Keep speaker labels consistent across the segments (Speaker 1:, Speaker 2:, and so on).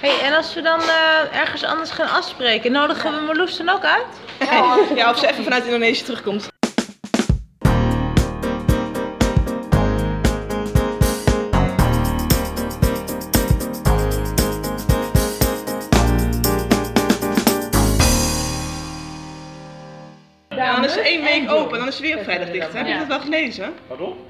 Speaker 1: hey, en als we dan eh, ergens anders gaan afspreken, nodigen we Marloes dan ook uit?
Speaker 2: Ja, of ze even vanuit Indonesië terugkomt. Ja, dan is ze één week open en dan is ze weer op vrijdag dicht. hè? Heb je
Speaker 3: Ja.
Speaker 2: dat wel gelezen?
Speaker 4: Pardon?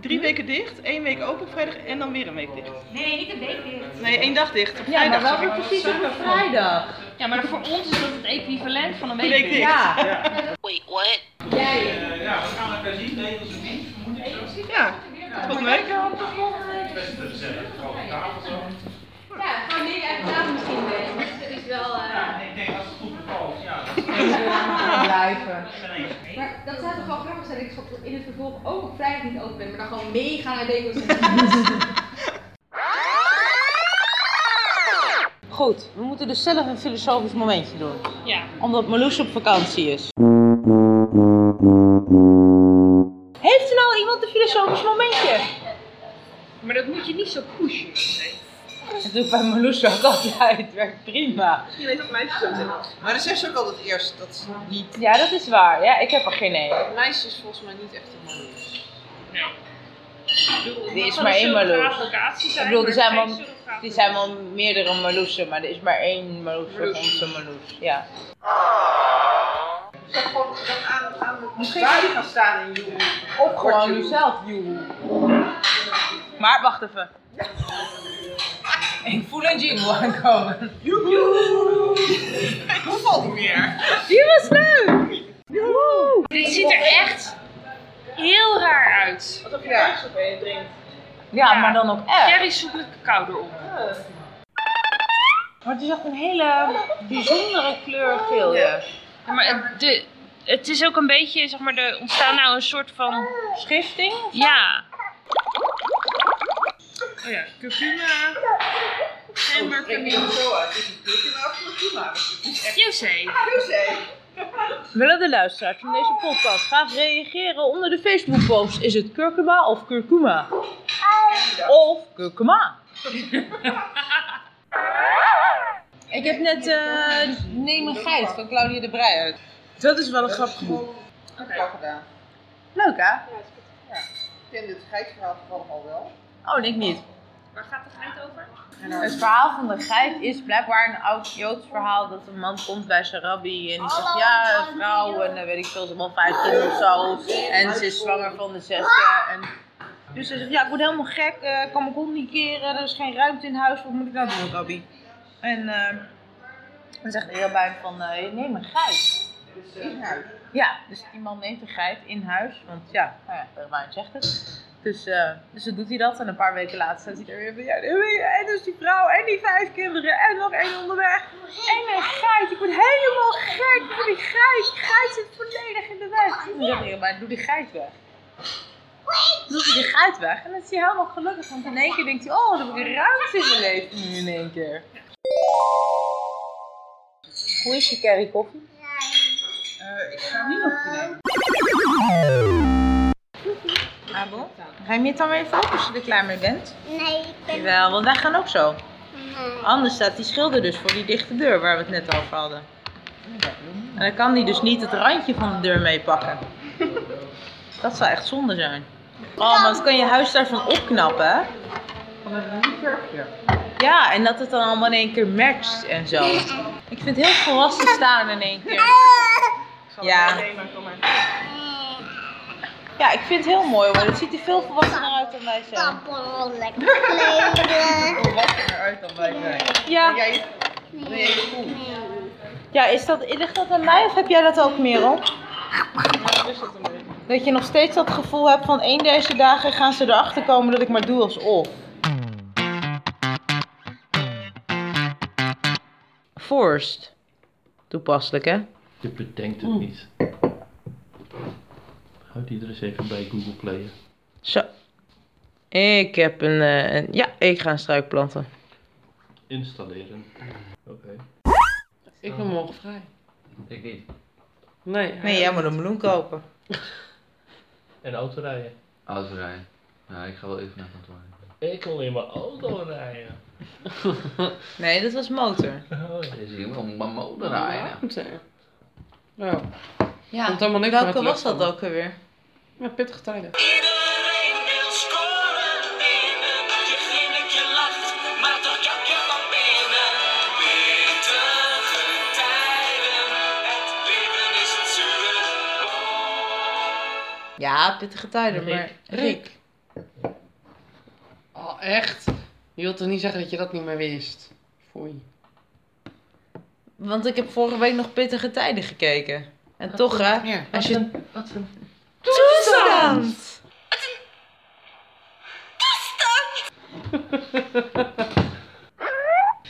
Speaker 2: Drie weken dicht, één week open op vrijdag en dan weer een week dicht.
Speaker 3: Nee, niet een week dicht.
Speaker 2: Nee, één dag dicht. Op
Speaker 1: Ja,
Speaker 2: vrijdag.
Speaker 1: maar wel
Speaker 2: sorry.
Speaker 1: weer precies op een vrijdag.
Speaker 3: Ja, maar voor ons is dat het equivalent van een
Speaker 2: Een
Speaker 3: week
Speaker 2: week
Speaker 3: dicht.
Speaker 2: dicht.
Speaker 1: Ja.
Speaker 4: ja, we gaan elkaar zien, regels en dienst, vermoed ik zo.
Speaker 2: Ja, volgende week.
Speaker 4: Best te gezellig, gewoon eh, op tafel zo.
Speaker 5: Ja, gewoon nu echt tafel misschien weer. Dus dat is wel. eh,
Speaker 4: Ja, ik denk als het goed bevalt, ja. dat
Speaker 1: blijven.
Speaker 4: is geen eens.
Speaker 5: Maar dat zou toch wel grappig zijn dat ik in het vervolg ook op vrijdag niet open ben, maar dan gewoon meegaan naar Dekels en
Speaker 1: Goed, we moeten dus zelf een filosofisch momentje doen.
Speaker 3: Ja.
Speaker 1: Omdat Marloes op vakantie is. Heeft er nou iemand een filosofisch momentje?
Speaker 3: Maar dat moet je niet zo pushen.
Speaker 1: Dat doe ik bij Marloes ook altijd. Werkt prima.
Speaker 2: Je weet dat meisjes zo zijn.
Speaker 6: Maar dan zegt ze ook altijd eerst dat ze niet.
Speaker 1: Ja, dat is waar. Ja, ik heb er geen een.
Speaker 6: Meisjes is volgens mij niet echt een manier.
Speaker 1: Er is maar één Marloes.
Speaker 3: locatie zijn.
Speaker 1: Ik bedoel, er
Speaker 3: maar
Speaker 1: zijn
Speaker 3: geen
Speaker 1: wel-
Speaker 3: surrogaat-
Speaker 1: Er zijn wel meerdere Marloesen, maar er is maar één Marloes voor onze Marloes. Ja.
Speaker 6: Zeg gewoon dan aan, aan de balie gaan staan in je
Speaker 1: Of gewoon nu zelf, joe. Maar wacht even. Ik voel een jingle aankomen.
Speaker 6: Ik hoef al niet meer.
Speaker 1: Die was leuk!
Speaker 3: Dit ziet er echt heel raar uit.
Speaker 2: Alsof je thuis op een drinkt.
Speaker 1: Ja, maar dan ook echt.
Speaker 3: Jerry zoekt het kouder op.
Speaker 1: Maar het is echt een hele bijzondere kleur
Speaker 2: Oh,
Speaker 1: geel. Ja.
Speaker 3: Ja, maar het, de, het is ook een beetje, zeg maar, er ontstaat nou een soort van.
Speaker 1: Schifting?
Speaker 3: Ja. Oh ja, curcuma.
Speaker 1: Oh,
Speaker 6: Maar ik niet zo uit. Dus ik druk in af en toe Het is echt
Speaker 3: José.
Speaker 6: heel
Speaker 1: Willen de luisteraars van deze podcast graag reageren onder de Facebookpost? Is het kurkuma of kurkuma? Of kurkuma? Ik heb net eh Nemigheid van Claudia de Breij uit. Dat is wel een grappig boek.
Speaker 6: Wel gedaan.
Speaker 1: Leuk hè?
Speaker 6: Ik ken dit geitverhaal gewoon al wel.
Speaker 1: Oh, ik niet.
Speaker 3: Waar gaat de geit over?
Speaker 1: Het verhaal van de geit is blijkbaar een oud Joods verhaal dat een man komt bij zijn rabbi en die zegt ja, een vrouw en eh, weet ik veel, ze is al 15 of zo en ze is zwanger van de zesde en dus hij zegt ja, ik word helemaal gek, eh, kan mijn kont niet keren, er is geen ruimte in huis, wat moet ik nou doen, rabbi? En eh, dan zegt de rabbijn van eh, neem een geit.
Speaker 6: In huis.
Speaker 1: Ja, dus die man neemt een geit in huis, want ja, nou ja, de rabbijn zegt het. Dus, eh, dus dan doet hij dat en een paar weken later staat hij er weer van, ja, en dus die vrouw en die vijf kinderen en nog één onderweg. En een geit, ik word helemaal gek voor die geit. Die geit zit volledig in de weg. En dan zegt hij, maar doe die geit weg. Dan doet hij die geit weg en dan is hij helemaal gelukkig, want in één keer denkt hij, oh, dan heb ik een ruimte in mijn leven nu in één keer. Hoe is je curry koffie?
Speaker 6: Eh, ik ga niet nog nemen.
Speaker 1: Abel, ga je me dan weer even op als je er klaar mee bent?
Speaker 7: Nee, ik ben... Mhm.
Speaker 1: Jawel, want wij gaan ook zo.
Speaker 7: Nee.
Speaker 1: Anders staat die schilder dus voor die dichte deur waar we het net over hadden. En dan kan die dus niet het randje van de deur meepakken. Dat zou echt zonde zijn. Oh, maar dan kan je huis daarvan opknappen, hè? Ja, en dat het dan allemaal in één keer matcht en zo. Ik vind het heel volwassen staan in één
Speaker 7: Ah.
Speaker 1: keer.
Speaker 2: Ik zal
Speaker 1: Ja.
Speaker 2: het wel nemen, kom maar.
Speaker 1: Ja, ik vind het heel mooi hoor. Het ziet er veel volwassener uit dan wij zijn.
Speaker 7: Kappel, lekker kleren.
Speaker 6: Volwassen eruit dan wij zijn.
Speaker 1: Ja.
Speaker 6: Jij, nee, ik voel.
Speaker 1: Ja, is dat, ligt dat aan mij of heb jij dat ook, Merel? Dat je nog steeds dat gevoel hebt van één deze dagen gaan ze erachter komen dat ik maar doe alsof. Forst. Toepasselijk, hè?
Speaker 4: Je bedenkt
Speaker 1: Mm.
Speaker 4: het niet. Houd die er eens even bij Google Playen.
Speaker 1: Zo. Ik heb een, eh, een- Ja, ik ga een struik planten.
Speaker 4: Installeren. Oké.
Speaker 8: Ik ben morgen vrij.
Speaker 4: Ik niet.
Speaker 8: Nee. hij-
Speaker 1: Nee, jij moet een meloen kopen.
Speaker 4: En autorijden.
Speaker 9: Autorijden. Nou, ik ga wel even naar kantoor.
Speaker 4: Ik wil in mijn auto rijden.
Speaker 1: Nee, dat was motor.
Speaker 4: Oh, ja.
Speaker 9: Dus ik wil mijn motor rijden.
Speaker 8: Moet zeggen. Nou,
Speaker 1: Ja.
Speaker 8: komt allemaal niks meer uit
Speaker 1: Welke
Speaker 8: de
Speaker 1: was
Speaker 8: lucht
Speaker 1: dat
Speaker 8: komen.
Speaker 1: ook alweer?
Speaker 8: Ja, pittige tijden.
Speaker 1: Ja, pittige tijden,
Speaker 4: Rick.
Speaker 1: maar... Rick.
Speaker 8: Oh, echt? Je wilt toch niet zeggen dat je dat niet meer wist? Foei.
Speaker 1: Want ik heb vorige week nog pittige tijden gekeken. En toch, hè?
Speaker 8: Ja.
Speaker 1: Als je...
Speaker 4: Wat een
Speaker 1: Toestand!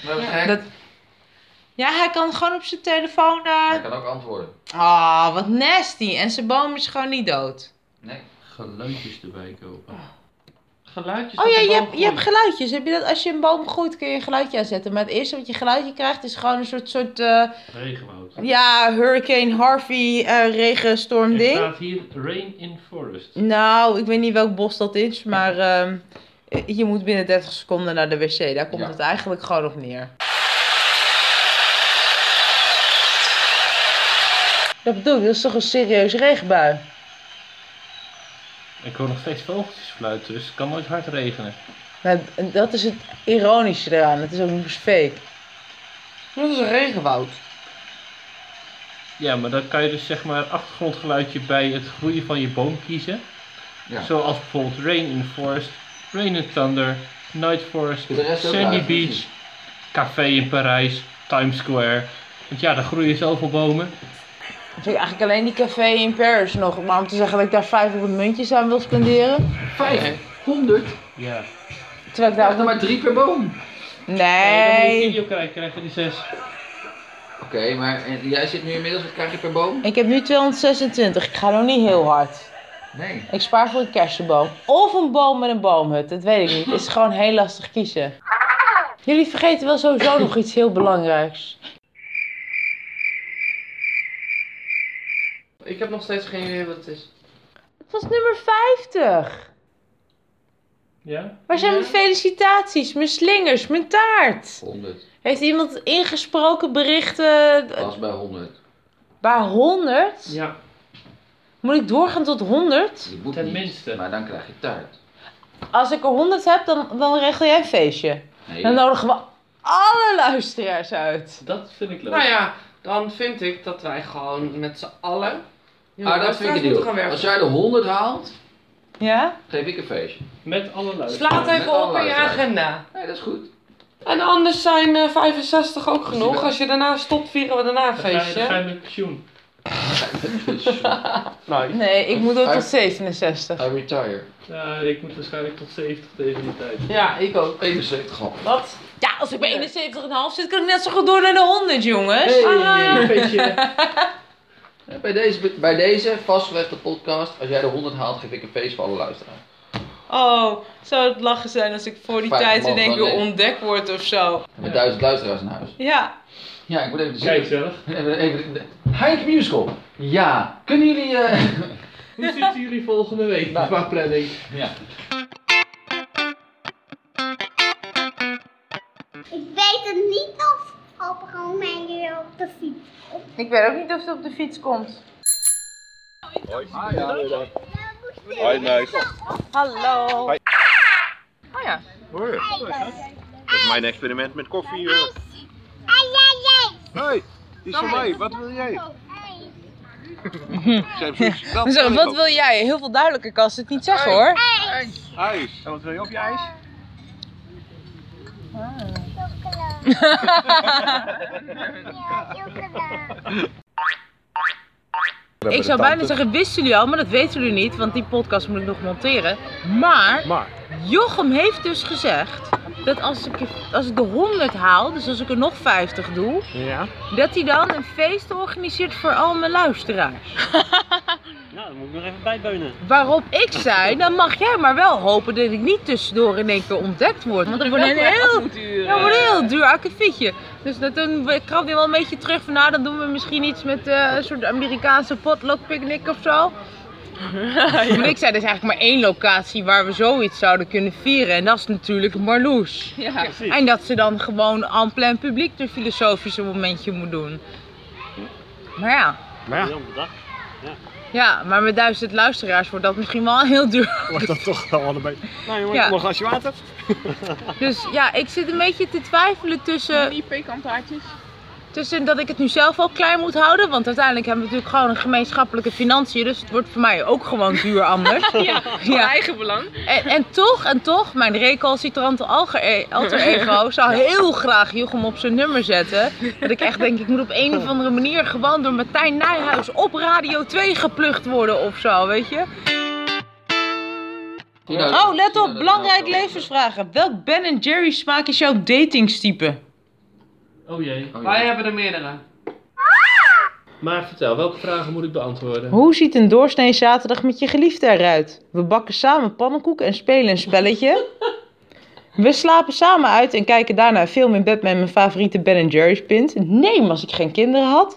Speaker 9: Maar we gaan-
Speaker 1: Dat... Ja, hij kan gewoon op zijn telefoon... eh,
Speaker 9: Hij kan ook antwoorden.
Speaker 1: Ah, wat nasty. En zijn boom is gewoon niet dood.
Speaker 9: Nee.
Speaker 4: geluidjes erbij kopen.
Speaker 8: Geluidjes
Speaker 1: Oh
Speaker 8: dat
Speaker 1: ja,
Speaker 8: de
Speaker 1: je
Speaker 8: boom
Speaker 1: hebt, je hebt
Speaker 8: groeit.
Speaker 1: geluidjes. Heb je dat, als je een boom groeit, kun je een geluidje aanzetten. Maar het eerste wat je geluidje krijgt is gewoon een soort, soort eh,
Speaker 4: Regenwoud.
Speaker 1: ja, hurricane Harvey eh regenstorm
Speaker 4: Er
Speaker 1: ding.
Speaker 4: staat hier Rain in Forest.
Speaker 1: Nou, ik weet niet welk bos dat is, maar ehm, je moet binnen 30 seconden naar de wc. Daar komt
Speaker 9: Ja.
Speaker 1: het eigenlijk gewoon op neer. Dat bedoel ik, dat is toch een serieus regenbui?
Speaker 4: Ik hoor nog steeds vogeltjes fluiten, dus het kan nooit hard regenen.
Speaker 1: Nou, dat is het ironische eraan. Het is ook nog eens fake.
Speaker 8: Dat is een regenwoud.
Speaker 4: Ja, maar dan kan je dus zeg maar achtergrondgeluidje bij het groeien van je boom kiezen.
Speaker 9: Ja.
Speaker 4: Zoals bijvoorbeeld Rain in the Forest, Rain in Thunder, Night Forest,
Speaker 9: De rest ook
Speaker 4: Sandy
Speaker 9: luid,
Speaker 4: Beach,
Speaker 9: precies.
Speaker 4: Café in Parijs, Times Square. Want ja, daar groeien zoveel bomen.
Speaker 1: Ik vind eigenlijk alleen die café in Paris nog. Maar om te zeggen dat ik daar 500 muntjes aan wil spenderen.
Speaker 9: 500?
Speaker 4: Ja.
Speaker 1: Terwijl ik daar
Speaker 9: Ja, dat is
Speaker 1: ook...
Speaker 9: maar drie per boom.
Speaker 4: Dan moet je een
Speaker 1: Nee.
Speaker 4: video krijgen, krijg je die zes.
Speaker 9: Oké, maar en jij zit nu inmiddels, wat krijg je per boom?
Speaker 1: Ik heb nu 226. Ik ga nog niet heel hard.
Speaker 9: Nee.
Speaker 1: Ik spaar voor een kersenboom. Of een boom met een boomhut. Dat weet ik niet. Het is gewoon heel lastig kiezen. Jullie vergeten wel sowieso nog iets heel belangrijks.
Speaker 8: Ik heb nog steeds geen idee wat het is.
Speaker 1: Het was nummer 50.
Speaker 4: Ja?
Speaker 1: Waar zijn mijn felicitaties, mijn slingers, mijn taart?
Speaker 9: 100.
Speaker 1: Heeft iemand ingesproken berichten eh,
Speaker 9: Pas bij 100.
Speaker 1: bij 100?
Speaker 8: Ja.
Speaker 1: Moet ik doorgaan tot 100?
Speaker 9: Je moet
Speaker 4: Ten
Speaker 9: niet,
Speaker 4: minste.
Speaker 9: Maar dan krijg je taart.
Speaker 1: Als ik er 100 heb, dan, dan regel jij een feestje.
Speaker 9: Nee.
Speaker 1: Dan nodigen we alle luisteraars uit.
Speaker 4: Dat vind ik leuk.
Speaker 8: Nou ja, dan vind ik dat wij gewoon met z'n allen...
Speaker 9: ah, dat vind ik een
Speaker 8: gaan
Speaker 9: deal.
Speaker 8: werken.
Speaker 9: Als jij de 100 haalt,
Speaker 1: Ja?
Speaker 9: geef ik een feestje.
Speaker 4: Met alle luisteraars.
Speaker 8: Slaat
Speaker 9: Met
Speaker 8: even op
Speaker 9: alle
Speaker 8: in je
Speaker 9: luisteraars.
Speaker 8: agenda.
Speaker 9: Nee, dat is goed.
Speaker 8: En anders zijn eh, 65 ook
Speaker 9: die
Speaker 8: genoeg.
Speaker 9: wel-
Speaker 8: Als je daarna stopt, vieren we daarna een
Speaker 4: Dan ga je, dan ga
Speaker 8: feestje.
Speaker 4: je met pensioen.
Speaker 8: Nou,
Speaker 1: Nee, ik moet door tot 67.
Speaker 9: I retire.
Speaker 4: Ja, Eh, ik moet waarschijnlijk tot 70 tegen die tijd.
Speaker 8: ja, ik ook.
Speaker 9: 71 al.
Speaker 8: Wat?
Speaker 1: Ja, als ik bij 71,5 zit, kan ik net zo goed door naar de 100, jongens. Ah.
Speaker 4: Hey, feestje.
Speaker 9: Ja, Bij deze, bij deze vastgelegde podcast, als jij de 100 haalt, geef ik een feest voor alle luisteraars.
Speaker 1: Oh, zou het lachen zijn als ik voor die
Speaker 9: Vijf
Speaker 1: tijd in
Speaker 9: man,
Speaker 1: één
Speaker 9: dan
Speaker 1: keer
Speaker 9: nee.
Speaker 1: ontdekt word of zo.
Speaker 9: En met 1000 luisteraars in huis.
Speaker 1: Ja.
Speaker 9: Ja, ik moet even de
Speaker 4: Kijk
Speaker 9: zin.
Speaker 4: zelf.
Speaker 9: Even, even de- Heinz Musical. Ja, kunnen jullie. eh
Speaker 4: Hoe zitten jullie volgende week
Speaker 9: Nou.
Speaker 4: qua planning?
Speaker 9: Ja.
Speaker 7: Ik weet het niet of op Romein weer op de fiets.
Speaker 1: Ik weet ook niet of het op de fiets komt.
Speaker 10: Hi, meid.
Speaker 1: Hallo. Oh ja.
Speaker 10: Hoi. Dat is mijn experiment met koffie.
Speaker 7: Ai,
Speaker 10: joh.
Speaker 7: ai, ai.
Speaker 10: Hey, die is van mij. Wat wil jij?
Speaker 7: Ai.
Speaker 10: Zij precies. Dat
Speaker 1: Dus,
Speaker 10: wil ik
Speaker 1: wat
Speaker 10: ook.
Speaker 1: wil jij? Heel veel duidelijker kan ze het niet zeggen hoor.
Speaker 10: IJs. En wat wil je op je ijs?
Speaker 7: Chocola. Ja, chocola.
Speaker 1: Ik zou bijna zeggen, wisten jullie al, maar dat weten jullie niet, want die podcast moet ik nog monteren. Maar
Speaker 10: Maar.
Speaker 1: Jochem heeft dus gezegd dat als ik, als ik de 100 haal, dus als ik er nog 50 doe,
Speaker 10: Ja.
Speaker 1: dat hij dan een feest organiseert voor al mijn luisteraars.
Speaker 10: Nou, dan moet ik nog even bijbeunen.
Speaker 1: Waarop ik zei, dan mag jij maar wel hopen dat ik niet tussendoor in één keer ontdekt word. Want ik word een heel, ja, wordt een heel duur akkefietje. Dus dat, toen krabde hij wel een beetje terug van, nou dan doen we misschien iets met eh, een soort Amerikaanse potluck picknick of zo.
Speaker 11: Ja.
Speaker 1: ik zei, er is eigenlijk maar één locatie waar we zoiets zouden kunnen vieren. En dat is natuurlijk Marloes.
Speaker 11: Ja.
Speaker 1: En dat ze dan gewoon en plein publiek de filosofische momentje moet doen. Maar ja,
Speaker 12: Maar ja. bedacht. Ja.
Speaker 1: ja, maar met duizend luisteraars wordt dat misschien wel heel duur.
Speaker 12: Wordt dat toch wel een beetje... Nou jongen,
Speaker 1: Ja.
Speaker 12: nog een glasje water.
Speaker 1: Dus ja, ik zit een beetje te twijfelen tussen...
Speaker 3: Die pekantaartjes.
Speaker 1: Tussen dat ik het nu zelf al klein moet houden, want uiteindelijk hebben we natuurlijk gewoon een gemeenschappelijke financiën, dus het wordt voor mij ook gewoon duur anders.
Speaker 3: Ja, voor eigen belang.
Speaker 1: En, en toch, en toch, mijn recalcitrante alge- alter ego zou heel graag Jochem op zijn nummer zetten. Dat ik echt denk, ik moet op een of andere manier gewoon door Martijn Nijhuis op Radio 2 geplukt worden of zo, weet je? Oh, let op, belangrijk levensvragen. Welk Ben Jerry's smaak is jouw datingstype?
Speaker 4: Oh jee.
Speaker 8: Wij
Speaker 1: Ah,
Speaker 8: hebben er meerdere.
Speaker 4: Maar vertel, welke vragen moet ik beantwoorden?
Speaker 1: Hoe ziet een doorsnee zaterdag met je geliefde eruit? We bakken samen pannenkoek en spelen een spelletje. We slapen samen uit en kijken daarna een film in bed met mijn favoriete Ben Jerry's pint. Neem als ik geen kinderen had.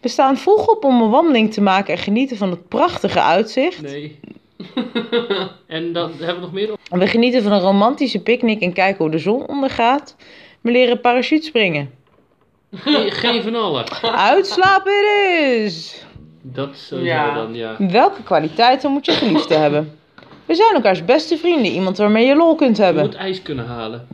Speaker 1: We staan vroeg op om een wandeling te maken en genieten van het prachtige uitzicht.
Speaker 4: Nee. en dan hebben we nog meer? op-
Speaker 1: We genieten van een romantische picknick en kijken hoe de zon ondergaat. We leren parachutespringen.
Speaker 4: Geen, geen van allen.
Speaker 1: Uitslapen dus! het is!
Speaker 4: Dat sowieso
Speaker 1: Ja.
Speaker 4: dan, ja.
Speaker 1: Welke kwaliteiten moet je geliefde hebben? We zijn elkaars beste vrienden, iemand waarmee je lol kunt
Speaker 4: Je
Speaker 1: hebben.
Speaker 4: moet ijs kunnen halen.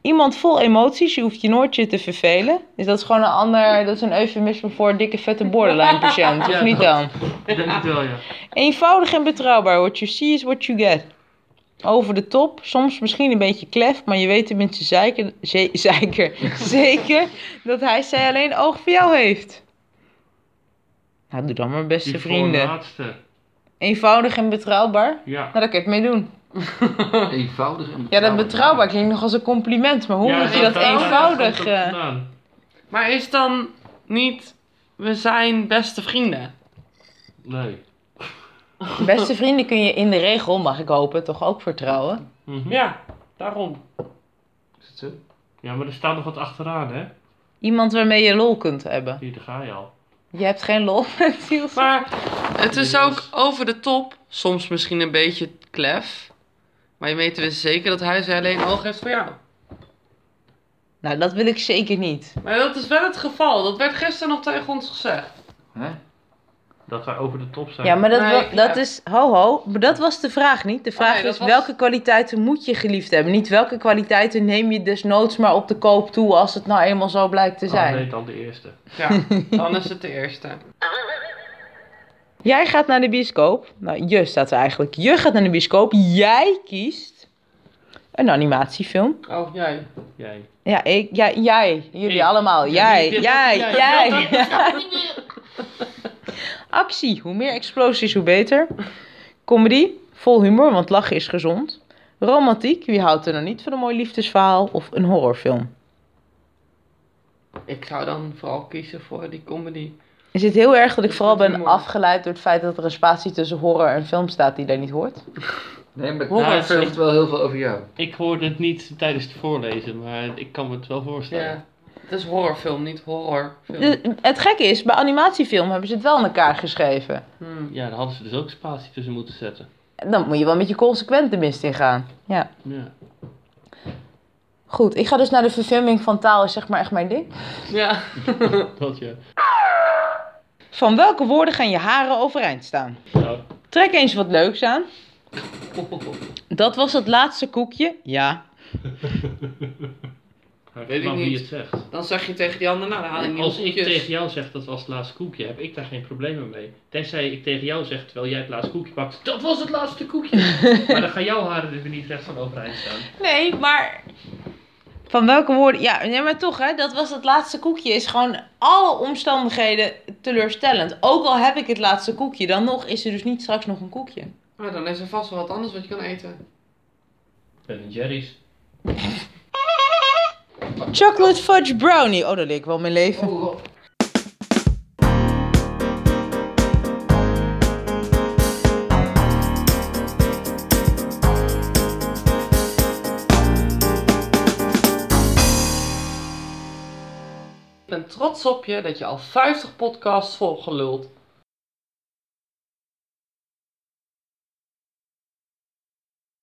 Speaker 1: Iemand vol emoties, je hoeft je nooit je te vervelen. Dus dat is gewoon een ander, dat is een eufemisme voor dikke vette borderline patiënt, of
Speaker 4: Ja,
Speaker 1: niet
Speaker 4: dat-
Speaker 1: dan?
Speaker 4: Ik denk het wel, ja.
Speaker 1: Eenvoudig en betrouwbaar, what you see is what you get. Over de top, soms misschien een beetje klef, maar je weet tenminste zeker, ze- zeker, zeker dat hij zij alleen oog voor jou heeft. Nou, doe dan maar beste
Speaker 4: Die
Speaker 1: vrienden.
Speaker 4: voorlaatste.
Speaker 1: Eenvoudig en betrouwbaar?
Speaker 4: Ja.
Speaker 1: Nou, daar kun je het mee doen.
Speaker 9: Eenvoudig en
Speaker 1: Ja, dat betrouwbaar klinkt nog als een compliment, maar hoe
Speaker 8: Ja,
Speaker 1: moet je dat
Speaker 8: dat- dat- dat-
Speaker 1: eenvoudig...
Speaker 8: dat-
Speaker 1: eh,
Speaker 8: Maar is dan niet, we zijn beste vrienden?
Speaker 4: Nee.
Speaker 1: Beste vrienden kun je in de regel, mag ik hopen, toch ook vertrouwen.
Speaker 4: Ja, daarom. Is het zo? Ja, maar er staat nog wat achteraan, hè?
Speaker 1: Iemand waarmee je lol kunt hebben.
Speaker 4: Hier, daar ga je al.
Speaker 1: Je hebt geen lol met Siels. Maar
Speaker 8: Het is ook over de top, soms misschien een beetje klef. Maar je weet dus zeker dat hij zijn alleen oog heeft voor jou.
Speaker 1: Nou, dat wil ik zeker niet.
Speaker 8: Maar dat is wel het geval, dat werd gisteren nog tegen ons gezegd.
Speaker 4: Dat wij over de top zijn.
Speaker 1: Ja, Oh maar dat, wa- dat is. Ho, ho. Maar dat was de vraag niet. De vraag
Speaker 8: nee, dat
Speaker 1: is:
Speaker 8: was-
Speaker 1: welke kwaliteiten moet je geliefd hebben? Niet welke kwaliteiten neem je desnoods maar op de koop toe als het nou eenmaal zo blijkt te zijn.
Speaker 4: Oh, nee, dan de eerste.
Speaker 8: Ja, dan is het de eerste.
Speaker 1: Jij gaat naar de bioscoop. Nou, je staat er eigenlijk. Je gaat naar de bioscoop. Jij kiest een animatiefilm.
Speaker 8: Oh, jij.
Speaker 4: Jij.
Speaker 1: Ja, ik, jij, jij, jullie
Speaker 8: Ik.
Speaker 1: allemaal. Jij,
Speaker 8: Dit-
Speaker 1: jij,
Speaker 8: dit-
Speaker 1: jij.
Speaker 8: dit-
Speaker 1: Actie, hoe meer explosies, hoe beter. Comedy, vol humor, want lachen is gezond. Romantiek, wie houdt er nou niet van een mooi liefdesverhaal of een horrorfilm?
Speaker 8: Ik zou dan vooral kiezen voor die comedy.
Speaker 1: Is het heel erg dat ik vooral ben afgeleid door het feit dat er een spatie tussen horror en film staat die daar niet hoort?
Speaker 9: Nee, maar
Speaker 4: Horror
Speaker 9: het
Speaker 4: film.
Speaker 9: zegt wel heel veel over jou.
Speaker 4: Ik hoorde het niet tijdens het voorlezen, maar ik kan me het wel voorstellen.
Speaker 8: Ja. Het is horrorfilm, niet horrorfilm.
Speaker 1: De- Eh, het gekke is, bij animatiefilm hebben ze het wel in elkaar geschreven.
Speaker 4: Ja, dan hadden ze dus ook spatie tussen moeten zetten.
Speaker 1: Dan moet je wel met je consequent de mist ingaan. Ja.
Speaker 4: Ja.
Speaker 1: Goed, ik ga dus naar de verfilming van taal, is zeg maar echt mijn ding.
Speaker 8: Ja.
Speaker 4: dat ja.
Speaker 1: Van welke woorden gaan je haren overeind staan?
Speaker 4: Nou,
Speaker 1: Trek eens wat leuks aan. Dat was het laatste koekje. Ja.
Speaker 8: Weet ik
Speaker 4: maar wie
Speaker 8: niet.
Speaker 4: het zegt.
Speaker 8: Dan zeg je tegen die ander, nou dan haal ik niet
Speaker 4: Als ik
Speaker 8: koekjes.
Speaker 4: tegen jou zeg dat was het laatste koekje, heb ik daar geen problemen mee. Tenzij ik tegen jou zeg, terwijl jij het laatste koekje pakt, dat was het laatste koekje. maar dan gaan jouw haren er weer niet recht van overeind staan.
Speaker 1: Nee, maar. Van welke woorden? Ja, nee, maar toch, hè, dat was het laatste koekje. Is gewoon alle omstandigheden teleurstellend. Ook al heb ik het laatste koekje, dan nog is er dus niet straks nog een koekje.
Speaker 8: Maar dan is er vast wel wat anders wat je kan eten.
Speaker 4: Ben Jerry's.
Speaker 1: Chocolate fudge brownie. Oh, dat leek wel mijn leven.
Speaker 8: Ik ben trots op je dat je al 50 podcasts volgeluld